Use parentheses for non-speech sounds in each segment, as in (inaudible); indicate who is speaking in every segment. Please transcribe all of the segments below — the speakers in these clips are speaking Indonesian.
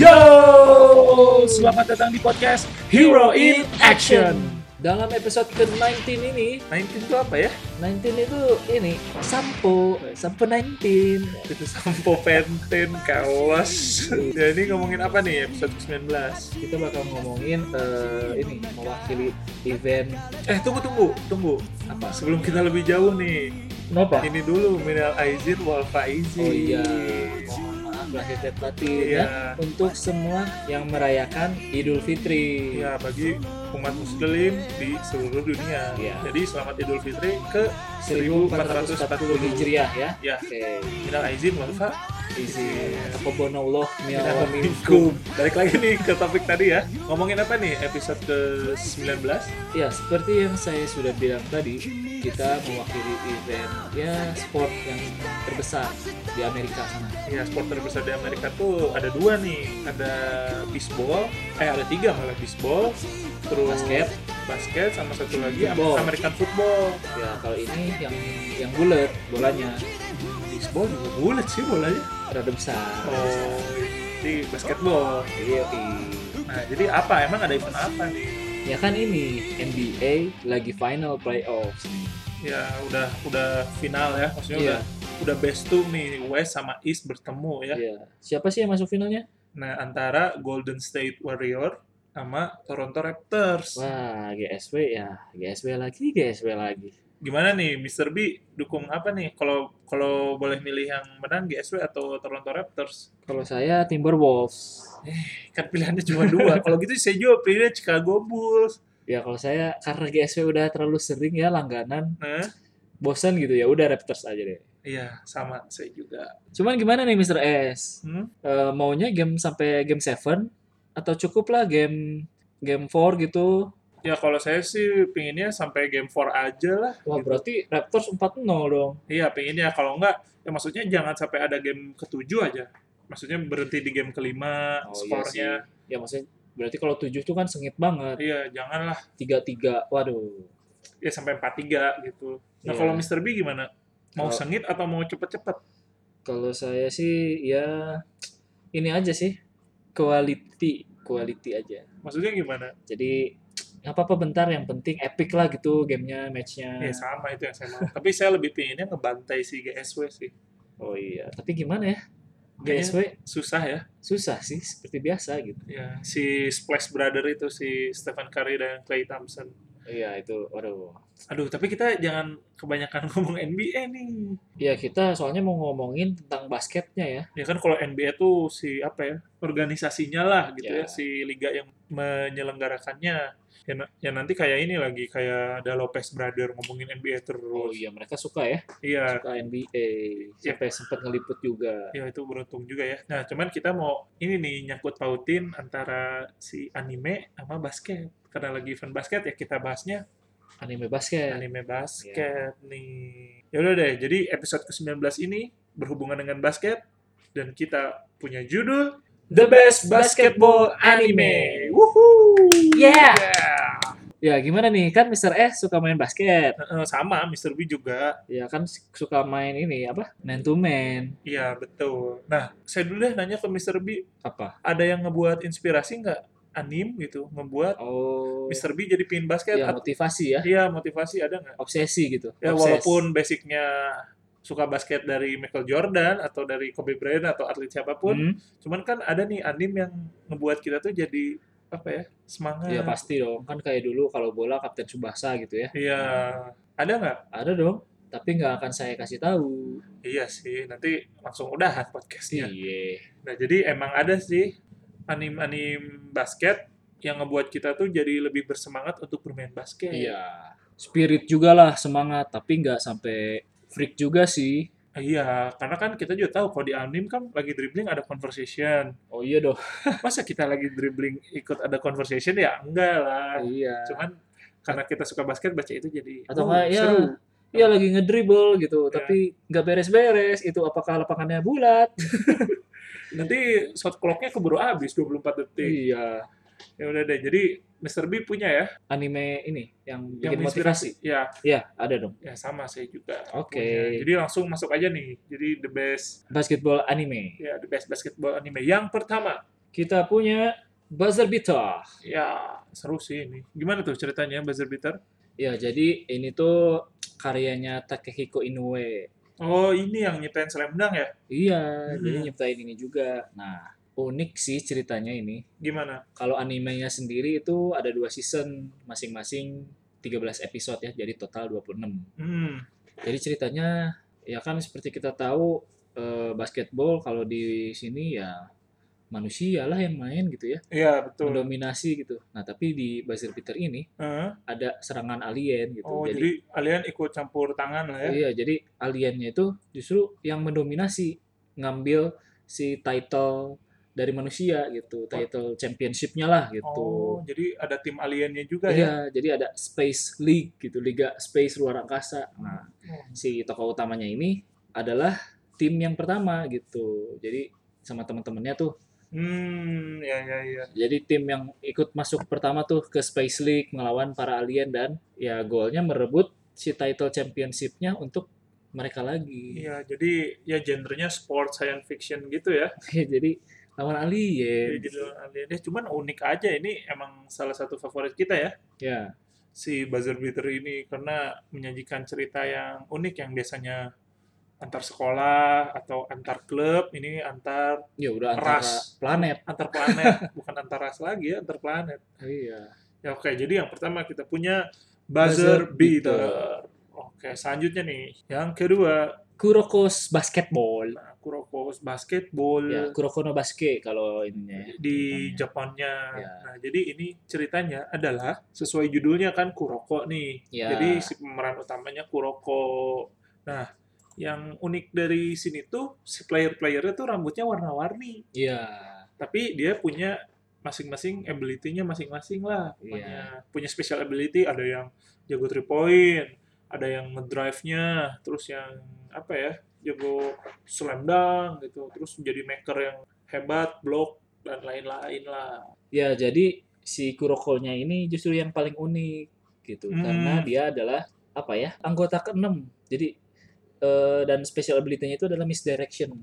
Speaker 1: Yo, selamat datang di podcast Hero in Action.
Speaker 2: Dalam episode ke-19 ini,
Speaker 1: 19 itu apa ya?
Speaker 2: 19 itu ini sampo, sampo 19.
Speaker 1: Itu sampo penten kaos. Jadi ngomongin apa nih episode 19?
Speaker 2: Kita bakal ngomongin eh, ini mewakili event
Speaker 1: Eh tunggu tunggu tunggu.
Speaker 2: apa?
Speaker 1: Sebelum kita lebih jauh nih,
Speaker 2: Nova.
Speaker 1: ini dulu Minal Aizin wal Faizin.
Speaker 2: Oh iya, mohon maaf lahir dan batin
Speaker 1: Iya.
Speaker 2: ya untuk semua yang merayakan Idul Fitri.
Speaker 1: Iya, bagi umat muslim di seluruh dunia.
Speaker 2: Iya.
Speaker 1: Jadi selamat Idul Fitri ke
Speaker 2: 1440
Speaker 1: 1440.
Speaker 2: Hijriah ya.
Speaker 1: Ya,
Speaker 2: Oke,
Speaker 1: Minal Aizin wal Faizin. Iya.
Speaker 2: izin. Apa bono Allah
Speaker 1: Ya,
Speaker 2: miawa minkum.
Speaker 1: Waalaikumsalam. Balik lagi nih ke topik tadi ya. Ngomongin apa nih episode ke-19?
Speaker 2: Ya, seperti yang saya sudah bilang tadi, kita mewakili event ya sport yang terbesar di Amerika sana.
Speaker 1: Ya, sport terbesar di Amerika tuh ada dua nih. Ada baseball, eh ada tiga malah baseball, terus
Speaker 2: Basket.
Speaker 1: basket sama satu lagi
Speaker 2: Football.
Speaker 1: American football.
Speaker 2: Ya, kalau ini yang yang bulat bolanya
Speaker 1: Baseball juga bulat sih bolanya.
Speaker 2: rada besar.
Speaker 1: Oh, di basketball.
Speaker 2: Iya,
Speaker 1: Nah, jadi apa? Emang ada event apa nih?
Speaker 2: Ya kan ini NBA lagi final playoffs.
Speaker 1: Ya udah udah final ya, maksudnya
Speaker 2: Iya.
Speaker 1: udah udah best two nih West sama East bertemu ya.
Speaker 2: Iya. Siapa sih yang masuk finalnya?
Speaker 1: Nah, antara Golden State Warrior sama Toronto Raptors.
Speaker 2: Wah, GSW ya, GSW lagi, GSW lagi.
Speaker 1: Gimana nih, Mr. B dukung apa nih? Kalau kalau boleh milih yang menang GSW atau Toronto Raptors?
Speaker 2: Kalau saya Timberwolves.
Speaker 1: Kan pilihannya cuma
Speaker 2: (laughs)
Speaker 1: dua. kalau gitu saya juga pilihnya Chicago Bulls.
Speaker 2: Ya kalau saya karena GSW udah terlalu sering ya langganan,
Speaker 1: Nah,
Speaker 2: bosan gitu ya udah Raptors aja deh.
Speaker 1: iya sama saya juga.
Speaker 2: Cuman gimana nih Mr. S?
Speaker 1: Hmm?
Speaker 2: Eh, maunya game sampai game 7 atau cukuplah game game 4 gitu?
Speaker 1: Ya kalau saya sih pinginnya sampai game 4 aja lah.
Speaker 2: Wah, berarti Raptors 4-0 dong.
Speaker 1: Iya, pinginnya kalau enggak ya maksudnya jangan sampai ada game ketujuh aja. Maksudnya berhenti di game kelima
Speaker 2: Oh, iya
Speaker 1: skornya.
Speaker 2: Ya maksudnya berarti kalau 7 itu kan sengit banget.
Speaker 1: Iya, janganlah
Speaker 2: 3-3. Waduh.
Speaker 1: ya sampai 43 gitu. Nah,
Speaker 2: Iya.
Speaker 1: kalau Mr. B gimana? Mau
Speaker 2: Kalau-
Speaker 1: sengit atau mau cepet-cepet?
Speaker 2: Kalau saya sih ya ini aja sih. Quality, quality aja.
Speaker 1: Maksudnya gimana?
Speaker 2: Jadi nggak apa-apa bentar yang penting epic lah gitu gamenya matchnya
Speaker 1: Ya sama itu yang saya mau. Tapi saya lebih pinginnya ngebantai si GSW sih.
Speaker 2: oh iya tapi gimana ya
Speaker 1: Kayaknya
Speaker 2: GSW
Speaker 1: susah ya.
Speaker 2: susah sih seperti biasa gitu
Speaker 1: Ya, si Splash Brother itu si Stephen Curry dan Clay Thompson.
Speaker 2: iya itu waduh
Speaker 1: Aduh, tapi kita jangan kebanyakan (laughs) ngomong NBA nih.
Speaker 2: Ya kita soalnya mau ngomongin tentang basketnya ya.
Speaker 1: Ya kan kalau NBA tuh si apa ya? Organisasinya lah gitu ya,
Speaker 2: Ya.
Speaker 1: si liga yang menyelenggarakannya. Ya, na- ya nanti kayak ini lagi kayak ada Lopez Brother ngomongin NBA
Speaker 2: Oh
Speaker 1: terus.
Speaker 2: iya mereka suka ya,
Speaker 1: Iya,
Speaker 2: suka NBA. Sampai sempat ngeliput juga.
Speaker 1: Ya itu beruntung juga ya. Nah cuman kita mau ini nih nyangkut pautin antara si anime sama basket. Karena lagi event basket ya kita bahasnya
Speaker 2: Anime basket.
Speaker 1: anime basket nih. Ya udah deh. Jadi episode ke-19 ini berhubungan dengan basket dan kita punya judul The Best Basketball Anime. Woohoo!
Speaker 2: Yeah!
Speaker 1: Yeah.
Speaker 2: Ya gimana nih kan Mr. S suka main basket.
Speaker 1: Eh, sama Mr. B juga.
Speaker 2: Ya kan suka main ini apa? Man to man.
Speaker 1: Iya betul. Nah saya dulu deh nanya ke Mr. B
Speaker 2: Apa?
Speaker 1: ada yang ngebuat inspirasi nggak anim gitu ngebuat
Speaker 2: Oh.
Speaker 1: Mr. B jadi pin basket
Speaker 2: Ya
Speaker 1: atau
Speaker 2: motivasi ya.
Speaker 1: iya motivasi ada nggak?
Speaker 2: Obsesi gitu.
Speaker 1: Ya
Speaker 2: Obses.
Speaker 1: walaupun basicnya suka basket dari Michael Jordan atau dari Kobe Bryant atau atlet siapapun,
Speaker 2: Hmm,
Speaker 1: cuman kan ada nih anim yang ngebuat kita tuh jadi apa ya semangat.
Speaker 2: ya pasti dong kan kayak dulu kalau bola Kapten Subasa gitu ya.
Speaker 1: Iya. Ada nggak?
Speaker 2: Ada dong. Tapi nggak akan saya kasih tahu.
Speaker 1: Iya sih. Nanti langsung udahan podcastnya.
Speaker 2: Iya.
Speaker 1: Nah jadi emang ada sih anim-anim basket yang ngebuat kita tuh jadi lebih bersemangat untuk bermain basket.
Speaker 2: Iya. Spirit juga lah semangat, tapi nggak sampai freak juga sih.
Speaker 1: Iya, karena kan kita juga tahu kalau di anim kan lagi dribbling ada conversation.
Speaker 2: Oh iya dong.
Speaker 1: masa kita lagi dribbling ikut ada conversation ya enggak lah
Speaker 2: iya.
Speaker 1: cuman karena kita suka basket baca itu jadi
Speaker 2: Atau
Speaker 1: "Oh,
Speaker 2: nggak, ya,
Speaker 1: seru
Speaker 2: Iya lagi ngedribble gitu,
Speaker 1: Iya.
Speaker 2: tapi nggak beres-beres. Itu apakah lapangannya bulat?
Speaker 1: nanti shot clocknya keburu habis 24 detik
Speaker 2: iya.
Speaker 1: ya udah deh jadi Mr. B punya ya
Speaker 2: Anime ini yang
Speaker 1: yang
Speaker 2: bikin motivasi.
Speaker 1: inspirasi ya
Speaker 2: Iya, ada dong.
Speaker 1: ya sama saya juga
Speaker 2: Oke.
Speaker 1: punya. jadi langsung masuk aja nih jadi the best
Speaker 2: Basketball anime.
Speaker 1: ya the best basketball anime yang pertama
Speaker 2: Kita punya buzzer beater.
Speaker 1: Ya, seru sih ini. Gimana tuh ceritanya buzzer beater?
Speaker 2: Ya, jadi ini tuh karyanya Takehiko Inoue.
Speaker 1: Oh, ini yang nyiptain slam dunk ya?
Speaker 2: Iya, jadi
Speaker 1: Hmm.
Speaker 2: nyiptain ini juga. Nah, unik sih ceritanya ini.
Speaker 1: Gimana?
Speaker 2: Kalau animenya sendiri itu ada dua season masing-masing 13 episode ya, jadi total 26.
Speaker 1: Hmm,
Speaker 2: Jadi ceritanya ya kan seperti kita tahu eh, basketball kalau di sini ya manusia lah yang main gitu ya,
Speaker 1: iya betul.
Speaker 2: mendominasi gitu. Nah, tapi di buzzer beater ini
Speaker 1: Heeh.
Speaker 2: ada serangan alien gitu.
Speaker 1: Oh, jadi, kalian ikut campur tangan lah ya?
Speaker 2: Iya, jadi aliennya itu justru yang mendominasi ngambil si title dari manusia gitu, title championship-nya lah
Speaker 1: Oh,
Speaker 2: gitu.
Speaker 1: jadi ada tim aliennya juga ya?
Speaker 2: Iya, jadi ada Space League gitu, Liga Space Luar Angkasa. Nah,
Speaker 1: Oh.
Speaker 2: si tokoh utamanya ini adalah tim yang pertama gitu. Jadi sama teman-temannya tuh.
Speaker 1: Hmm, ya ya ya.
Speaker 2: Jadi tim yang ikut masuk pertama tuh ke Space League melawan para alien dan ya golnya merebut si title championship-nya untuk mereka lagi.
Speaker 1: Iya, jadi ya gendernya sport science fiction gitu ya.
Speaker 2: (laughs) Ya, jadi lawan
Speaker 1: Jadi
Speaker 2: alien.
Speaker 1: judul alien. Ya, cuman unik aja ini emang salah satu favorit kita ya.
Speaker 2: Ya,
Speaker 1: si buzzer beater ini karena menyajikan cerita yang unik yang biasanya antar sekolah atau antar klub ini antar
Speaker 2: ya udah antara
Speaker 1: Ras.
Speaker 2: planet.
Speaker 1: antar
Speaker 2: (laughs)
Speaker 1: planet bukan antar ras lagi ya antar planet
Speaker 2: Iya.
Speaker 1: ya oke jadi yang pertama kita punya buzzer,
Speaker 2: Buzzer
Speaker 1: beater.
Speaker 2: beater.
Speaker 1: oke selanjutnya nih yang kedua
Speaker 2: Kurokos basketball.
Speaker 1: nah, Kuroko basketball
Speaker 2: Ya, Kuroko no basket kalau
Speaker 1: Hmm.
Speaker 2: ininya. ya,
Speaker 1: di
Speaker 2: Tentangnya.
Speaker 1: Japannya.
Speaker 2: Ya.
Speaker 1: Nah, jadi ini ceritanya adalah sesuai judulnya kan Kuroko nih.
Speaker 2: Ya.
Speaker 1: Jadi si pemeran utamanya Kuroko. Nah, yang unik dari sini tuh si player-playernya tuh rambutnya warna-warni,
Speaker 2: Iya.
Speaker 1: tapi dia punya masing-masing ability-nya masing-masing lah.
Speaker 2: Iya.
Speaker 1: Punya punya special ability, ada yang jago three point, ada yang ngedrive-nya, terus yang apa ya? jago slam dunk gitu, terus jadi maker yang hebat, block dan lain-lain lah.
Speaker 2: Ya, jadi si Kurokonya ini justru yang paling unik gitu
Speaker 1: Hmm.
Speaker 2: karena dia adalah apa ya? anggota keenam. Jadi eh, dan special ability-nya itu adalah misdirection.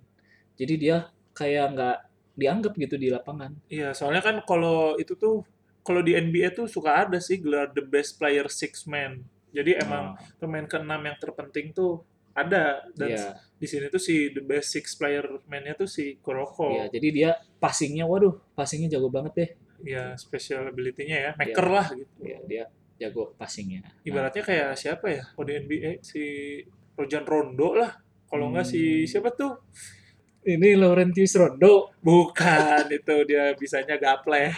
Speaker 2: Jadi dia kayak nggak dianggap gitu di lapangan.
Speaker 1: Iya, soalnya kan kalau itu tuh kalau di NBA tuh suka ada sih gelar the best player six man. Jadi emang
Speaker 2: Nah,
Speaker 1: pemain keenam yang terpenting tuh ada dan
Speaker 2: iya.
Speaker 1: di sini tuh si the best six player man-nya tuh si Kuroko. Iya,
Speaker 2: Iya, jadi dia passingnya, waduh, passingnya jago banget deh.
Speaker 1: Iya, special ability-nya ya, maker
Speaker 2: Gitu. Iya.
Speaker 1: lah gitu.
Speaker 2: Iya, dia jago passingnya. Nah,
Speaker 1: Ibaratnya kayak siapa ya? Kalau di NBA si Rojan Rondo lah. Kalau nggak si
Speaker 2: Hmm.
Speaker 1: siapa tuh?
Speaker 2: ini Laurentius Rondo.
Speaker 1: Bukan (laughs) itu dia bisanya gaple.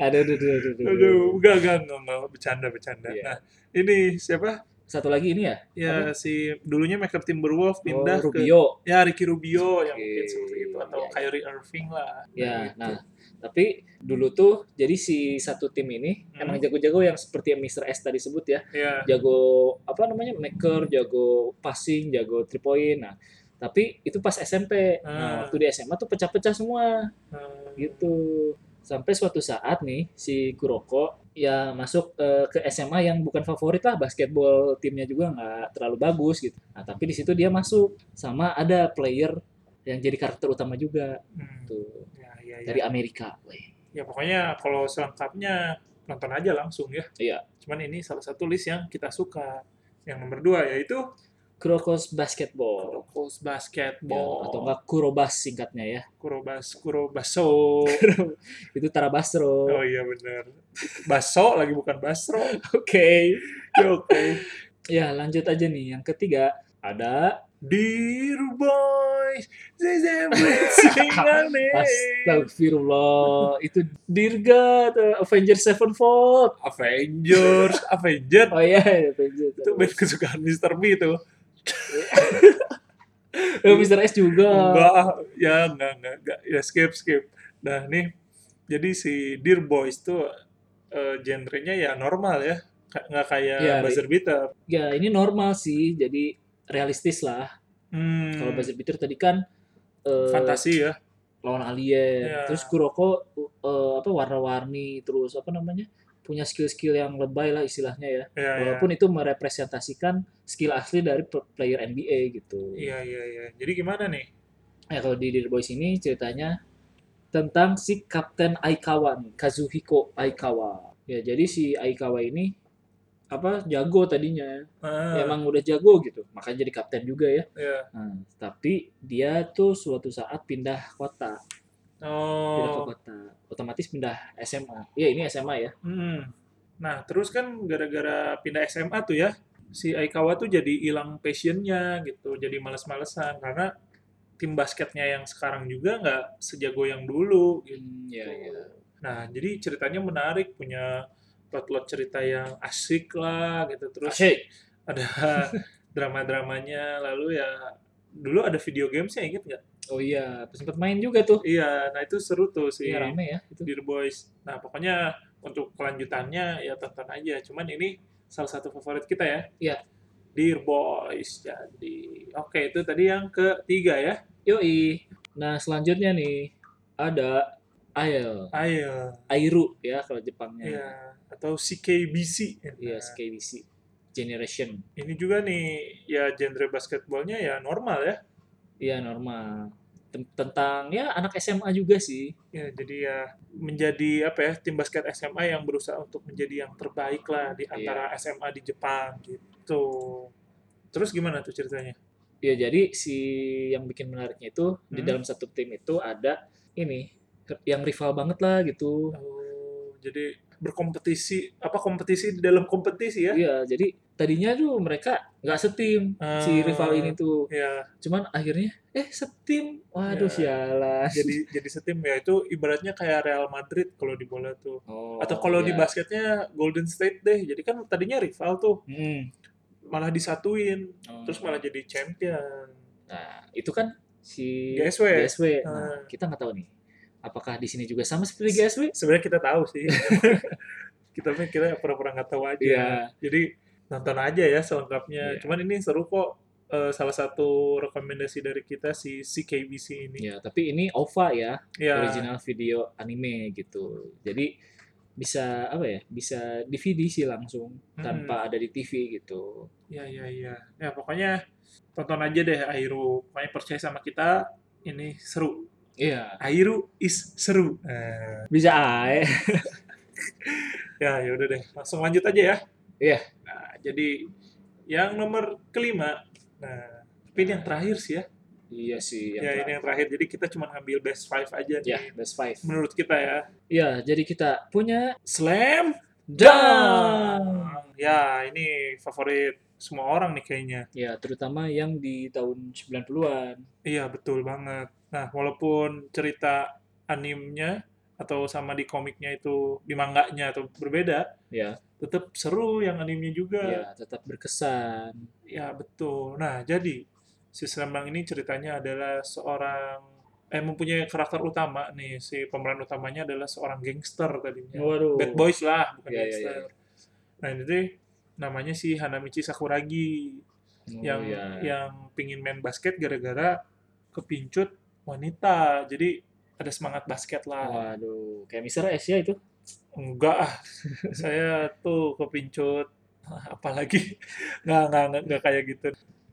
Speaker 2: Aduh, aduh, aduh, aduh, aduh.
Speaker 1: Aduh, enggak enggak enggak, enggak. bercanda bercanda.
Speaker 2: Iya.
Speaker 1: Nah, ini siapa?
Speaker 2: Satu lagi ini ya,
Speaker 1: Ya si dulunya makeup Timberwolves pindah
Speaker 2: oh, Rubio.
Speaker 1: ke ya Ricky Rubio yang
Speaker 2: Oke.
Speaker 1: mungkin seperti itu atau
Speaker 2: Ya, ya.
Speaker 1: Kyrie Irving lah.
Speaker 2: Ya,
Speaker 1: Nah, gitu.
Speaker 2: nah, tapi dulu tuh jadi si satu tim ini
Speaker 1: Hmm.
Speaker 2: emang jago-jago yang seperti yang Mr. S tadi sebut ya.
Speaker 1: ya.
Speaker 2: Jago apa namanya? maker, jago passing, jago three point. Nah, tapi itu pas SMP.
Speaker 1: Ah.
Speaker 2: Nah, waktu di SMA tuh pecah-pecah semua.
Speaker 1: eh,
Speaker 2: gitu sampai suatu saat nih si Kuroko ya masuk eh, ke SMA yang bukan favorit lah basketball timnya juga nggak terlalu bagus gitu nah tapi di situ dia masuk sama ada player yang jadi karakter utama juga
Speaker 1: hmm,
Speaker 2: tuh
Speaker 1: Ya, ya, ya.
Speaker 2: dari Amerika weh.
Speaker 1: ya pokoknya kalau selengkapnya nonton aja langsung ya.
Speaker 2: Iya.
Speaker 1: Cuman ini salah satu list yang kita suka. Yang nomor dua yaitu
Speaker 2: Kuroko's basketball
Speaker 1: Kurokos
Speaker 2: Ya,
Speaker 1: Basketball.
Speaker 2: atau enggak Kurobas singkatnya ya
Speaker 1: Kurobas
Speaker 2: (laughs)
Speaker 1: Kurobaso.
Speaker 2: itu Tarabastro
Speaker 1: oh iya bener. Baso lagi bukan Basro.
Speaker 2: oke
Speaker 1: Ya, Oke.
Speaker 2: ya lanjut aja nih yang ketiga ada
Speaker 1: Dear boys, this is single
Speaker 2: Astagfirullah itu Dirga atau Avengers Sevenfold
Speaker 1: Avengers, Avengers.
Speaker 2: Oh iya, iya, Avengers.
Speaker 1: Itu band kesukaan Mr. B itu.
Speaker 2: Eh, Mr. S juga.
Speaker 1: Enggak, ah.
Speaker 2: Oh.
Speaker 1: ya enggak, enggak, enggak. Ya skip, skip. Nah nih, jadi si Dear Boys tuh eh, genrenya ya normal ya. Ka- Nggak kayak
Speaker 2: Iya,
Speaker 1: buzzer beater.
Speaker 2: Ya, ini normal sih. Jadi realistis lah.
Speaker 1: Hmm,
Speaker 2: Kalau Buzzer Beater tadi kan eh,
Speaker 1: fantasi ya.
Speaker 2: lawan alien.
Speaker 1: Ya.
Speaker 2: Terus Kuroko eh, apa warna-warni terus apa namanya? punya skill-skill yang lebay lah istilahnya ya.
Speaker 1: Ya, ya.
Speaker 2: Walaupun itu merepresentasikan skill asli dari pe- player NBA gitu. Nah,
Speaker 1: Iya, iya, iya. Jadi gimana nih?
Speaker 2: Ya kalau di Dear Boys ini ceritanya tentang si Kapten Aikawa nih, Kazuhiko Aikawa. Ya, jadi si Aikawa ini apa jago tadinya.
Speaker 1: Ah,
Speaker 2: Ya, Emang udah jago gitu. Makanya jadi kapten juga ya.
Speaker 1: iya.
Speaker 2: Nah, tapi dia tuh suatu saat pindah kota, pindah ke
Speaker 1: Oh.
Speaker 2: kota. Otomatis pindah SMA. Iya, ini SMA ya.
Speaker 1: Hmm. Nah, terus kan gara-gara pindah SMA tuh ya, si Aikawa tuh jadi hilang passionnya gitu, jadi males-malesan karena tim basketnya yang sekarang juga nggak sejago yang dulu. Gitu.
Speaker 2: iya, iya.
Speaker 1: Nah, jadi ceritanya menarik, punya plot-plot cerita yang asik lah gitu, terus
Speaker 2: Asik.
Speaker 1: ada (laughs) drama-dramanya, lalu ya dulu ada video gamesnya inget nggak?
Speaker 2: Oh iya, sempat main juga tuh.
Speaker 1: Iya, nah itu seru tuh si
Speaker 2: Iya, rame ya itu.
Speaker 1: Dear Boys. Nah, pokoknya untuk kelanjutannya ya tonton aja. Cuman ini salah satu favorit kita ya.
Speaker 2: Iya.
Speaker 1: Dear Boys. Jadi, oke itu tadi yang ketiga ya.
Speaker 2: Yoi. Nah, selanjutnya nih ada Ael,
Speaker 1: Ayo.
Speaker 2: Airu ya kalau Jepangnya.
Speaker 1: Iya. Atau CKBC. Nah,
Speaker 2: Iya, KBC Generation.
Speaker 1: Ini juga nih ya genre basketballnya ya normal ya.
Speaker 2: Iya, normal. Tem- Tentang ya anak SMA juga sih.
Speaker 1: Ya, jadi ya menjadi apa ya tim basket SMA yang berusaha untuk menjadi yang terbaik lah
Speaker 2: Iya.
Speaker 1: di antara SMA di Jepang gitu. Terus gimana tuh ceritanya?
Speaker 2: Ya jadi si yang bikin menariknya itu di
Speaker 1: Hmm.
Speaker 2: dalam satu tim itu ada ini yang rival banget lah gitu.
Speaker 1: Oh, jadi berkompetisi apa kompetisi di dalam kompetisi ya?
Speaker 2: Iya, jadi tadinya tuh mereka nggak setim si
Speaker 1: Ah.
Speaker 2: rival ini tuh.
Speaker 1: Ya,
Speaker 2: Cuman akhirnya eh setim. Waduh
Speaker 1: Ya.
Speaker 2: sialan.
Speaker 1: jadi jadi setim ya itu ibaratnya kayak Real Madrid kalau di bola tuh.
Speaker 2: Oh,
Speaker 1: Atau kalau di
Speaker 2: ya.
Speaker 1: basketnya Golden State deh. Jadi kan tadinya rival tuh
Speaker 2: Mm.
Speaker 1: malah disatuin,
Speaker 2: Oh.
Speaker 1: terus malah jadi champion.
Speaker 2: Nah, itu kan si
Speaker 1: GSW.
Speaker 2: Nah,
Speaker 1: Ah.
Speaker 2: kita nggak tahu nih. Apakah di sini juga sama seperti GSW?
Speaker 1: Sebenarnya kita tahu sih. (laughs) kita mah kira pura-pura nggak tahu aja.
Speaker 2: Iya.
Speaker 1: Jadi nonton aja ya selengkapnya.
Speaker 2: Iya.
Speaker 1: Cuman ini seru kok. Eh, salah satu rekomendasi dari kita si CKBC ini.
Speaker 2: Ya, tapi ini OVA ya,
Speaker 1: Ya.
Speaker 2: original video anime gitu. Jadi bisa apa ya? Bisa DVD sih langsung
Speaker 1: Hmm.
Speaker 2: tanpa ada di TV gitu.
Speaker 1: Ya, ya, ya. Ya, pokoknya tonton aja deh Airu. Pokoknya percaya sama kita, ini seru.
Speaker 2: Iya,
Speaker 1: Airu is seru. Eh,
Speaker 2: bisa ae.
Speaker 1: ya, yaudah deh. Langsung lanjut aja ya.
Speaker 2: Iya.
Speaker 1: Nah, jadi yang nomor kelima. Nah, tapi ini yang terakhir sih ya.
Speaker 2: iya sih
Speaker 1: ya, ini yang terakhir. Jadi kita cuma ngambil best five aja nih.
Speaker 2: ya, best five.
Speaker 1: Menurut kita ya.
Speaker 2: Iya, jadi kita punya
Speaker 1: Slam
Speaker 2: Down.
Speaker 1: Ya, ini favorit semua orang nih kayaknya.
Speaker 2: Ya, terutama yang di tahun 90-an.
Speaker 1: Iya, betul banget. Nah, walaupun cerita animnya atau sama di komiknya itu di manganya atau berbeda,
Speaker 2: Ya,
Speaker 1: tetap seru yang animnya juga.
Speaker 2: ya tetap berkesan.
Speaker 1: Ya, betul. Nah, jadi si Selambang ini ceritanya adalah seorang eh mempunyai karakter utama nih. Si pemeran utamanya adalah seorang gangster tadinya.
Speaker 2: Waduh.
Speaker 1: Bad boys lah, bukan
Speaker 2: Iya, iya,
Speaker 1: gangster. Nah, ini deh namanya si Hanamichi Sakuragi
Speaker 2: Oh,
Speaker 1: yang
Speaker 2: ya.
Speaker 1: yang pingin main basket gara-gara kepincut wanita jadi ada semangat basket lah
Speaker 2: Waduh, kayak Mister S ya itu.
Speaker 1: enggak ah (laughs) saya tuh kepincut Ah, apalagi (laughs) nggak nggak nggak- nggak kayak gitu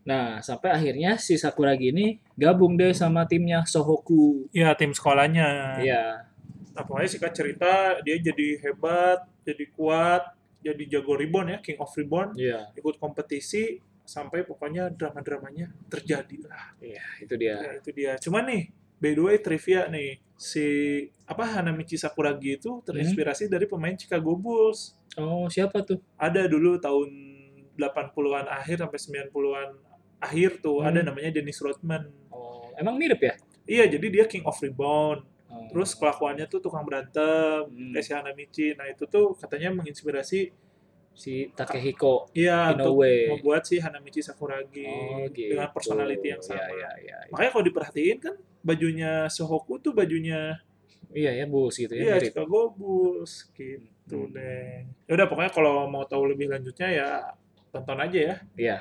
Speaker 2: Nah, sampai akhirnya si Sakuragi ini gabung deh sama timnya Sohoku.
Speaker 1: ya tim sekolahnya
Speaker 2: Iya,
Speaker 1: nah, pokoknya singkat cerita dia jadi hebat jadi kuat jadi jago rebound ya king of rebound
Speaker 2: iya,
Speaker 1: ikut kompetisi sampai pokoknya drama-dramanya terjadi lah
Speaker 2: iya, itu dia.
Speaker 1: Ya, itu dia. Cuman nih, by the way trivia nih, si apa Hanamichi Sakuragi itu
Speaker 2: Hmm.
Speaker 1: terinspirasi dari pemain Chicago Bulls.
Speaker 2: Oh, siapa tuh?
Speaker 1: Ada dulu tahun 80-an akhir sampai 90-an akhir tuh
Speaker 2: Hmm.
Speaker 1: ada namanya Dennis Rodman.
Speaker 2: Oh, emang mirip ya?
Speaker 1: Iya, jadi dia king of rebound.
Speaker 2: Oh.
Speaker 1: Terus kelakuannya tuh tukang berantem,
Speaker 2: Hmm.
Speaker 1: kayak si Hanamichi. Nah, itu tuh katanya menginspirasi
Speaker 2: si Takehiko
Speaker 1: iya untuk
Speaker 2: Inoue.
Speaker 1: membuat si Hanamichi Sakuragi
Speaker 2: Oh, gitu.
Speaker 1: dengan personality yang sama.
Speaker 2: Iya, iya, iya.
Speaker 1: Makanya kalau diperhatiin kan bajunya Sohoku tuh bajunya
Speaker 2: Iya ya, bus gitu ya,
Speaker 1: Iya,
Speaker 2: mirip.
Speaker 1: Chicago Bulls gitu
Speaker 2: Hmm.
Speaker 1: deh. Ya udah pokoknya kalau mau tahu lebih lanjutnya ya tonton aja ya
Speaker 2: Iya,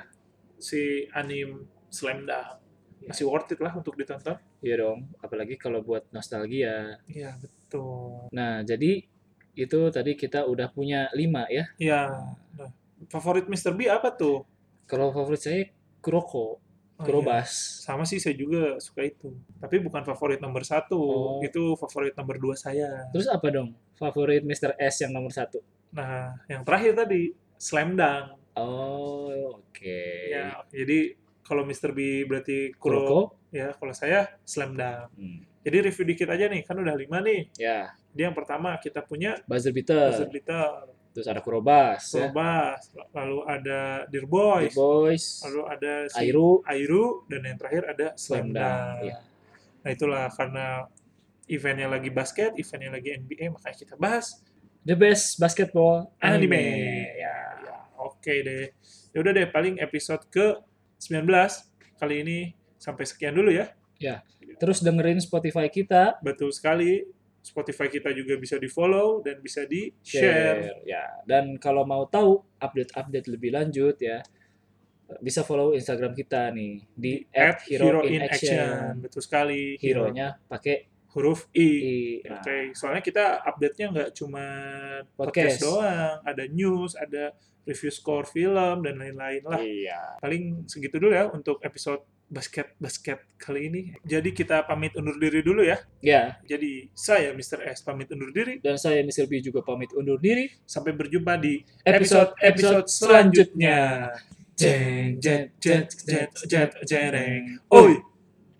Speaker 1: si anime Slam Dunk. Masih worth it lah untuk ditonton.
Speaker 2: iya dong. Apalagi kalau buat nostalgia.
Speaker 1: Iya, betul.
Speaker 2: Nah, jadi itu tadi kita udah punya lima ya.
Speaker 1: Iya. Nah, favorit Mr. B apa tuh?
Speaker 2: Kalau favorit saya Kuroko.
Speaker 1: Oh,
Speaker 2: Kurobas.
Speaker 1: Sama sih saya juga suka itu. Tapi bukan favorit nomor satu.
Speaker 2: Oh.
Speaker 1: Itu favorit nomor dua saya.
Speaker 2: Terus apa dong? Favorit Mr. S yang nomor satu.
Speaker 1: Nah, yang terakhir tadi, Slam Dunk.
Speaker 2: Oh, oke.
Speaker 1: Ya, jadi kalau Mr. B berarti Kuro,
Speaker 2: Kuroko?
Speaker 1: ya kalau saya Slam Dunk.
Speaker 2: Hmm.
Speaker 1: Jadi review dikit aja nih, kan udah lima nih.
Speaker 2: Ya,
Speaker 1: Jadi yang pertama kita punya
Speaker 2: Buzzer Beater.
Speaker 1: Buzzer Beater,
Speaker 2: Terus ada Kurobas. ya.
Speaker 1: Sobas, lalu ada Dear Boys,
Speaker 2: The Boys.
Speaker 1: lalu ada si
Speaker 2: Airu.
Speaker 1: Airu, dan yang terakhir ada Slam Dunk.
Speaker 2: Slam Dunk, ya.
Speaker 1: Nah itulah karena eventnya lagi basket, eventnya lagi NBA, makanya kita bahas
Speaker 2: The Best Basketball
Speaker 1: anime.
Speaker 2: Anime.
Speaker 1: Ya, ya, oke deh. Ya udah deh, paling episode ke 19 kali ini sampai sekian dulu ya.
Speaker 2: Terus dengerin Spotify kita.
Speaker 1: Betul sekali. Spotify kita juga bisa di follow dan bisa di share.
Speaker 2: Ya. Dan kalau mau tahu update-update lebih lanjut ya, bisa follow Instagram kita nih di
Speaker 1: At Hero, in action.
Speaker 2: @heroinaction.
Speaker 1: betul sekali.
Speaker 2: Hero-nya pakai
Speaker 1: huruf I.
Speaker 2: i.
Speaker 1: Oke,
Speaker 2: Nah,
Speaker 1: soalnya kita update-nya nggak cuma podcast.
Speaker 2: Podcast.
Speaker 1: doang, ada news, ada review skor film dan lain-lain lah.
Speaker 2: Iya.
Speaker 1: Paling segitu dulu ya untuk episode basket basket kali ini. Jadi kita pamit undur diri dulu ya.
Speaker 2: Ya,
Speaker 1: Jadi saya Mr. S pamit undur diri.
Speaker 2: dan saya Mr. B juga pamit undur diri.
Speaker 1: Sampai berjumpa di
Speaker 2: Episode-episode
Speaker 1: episode selanjutnya. Jeng, jet, jet, jet, jet, jereng. Oi,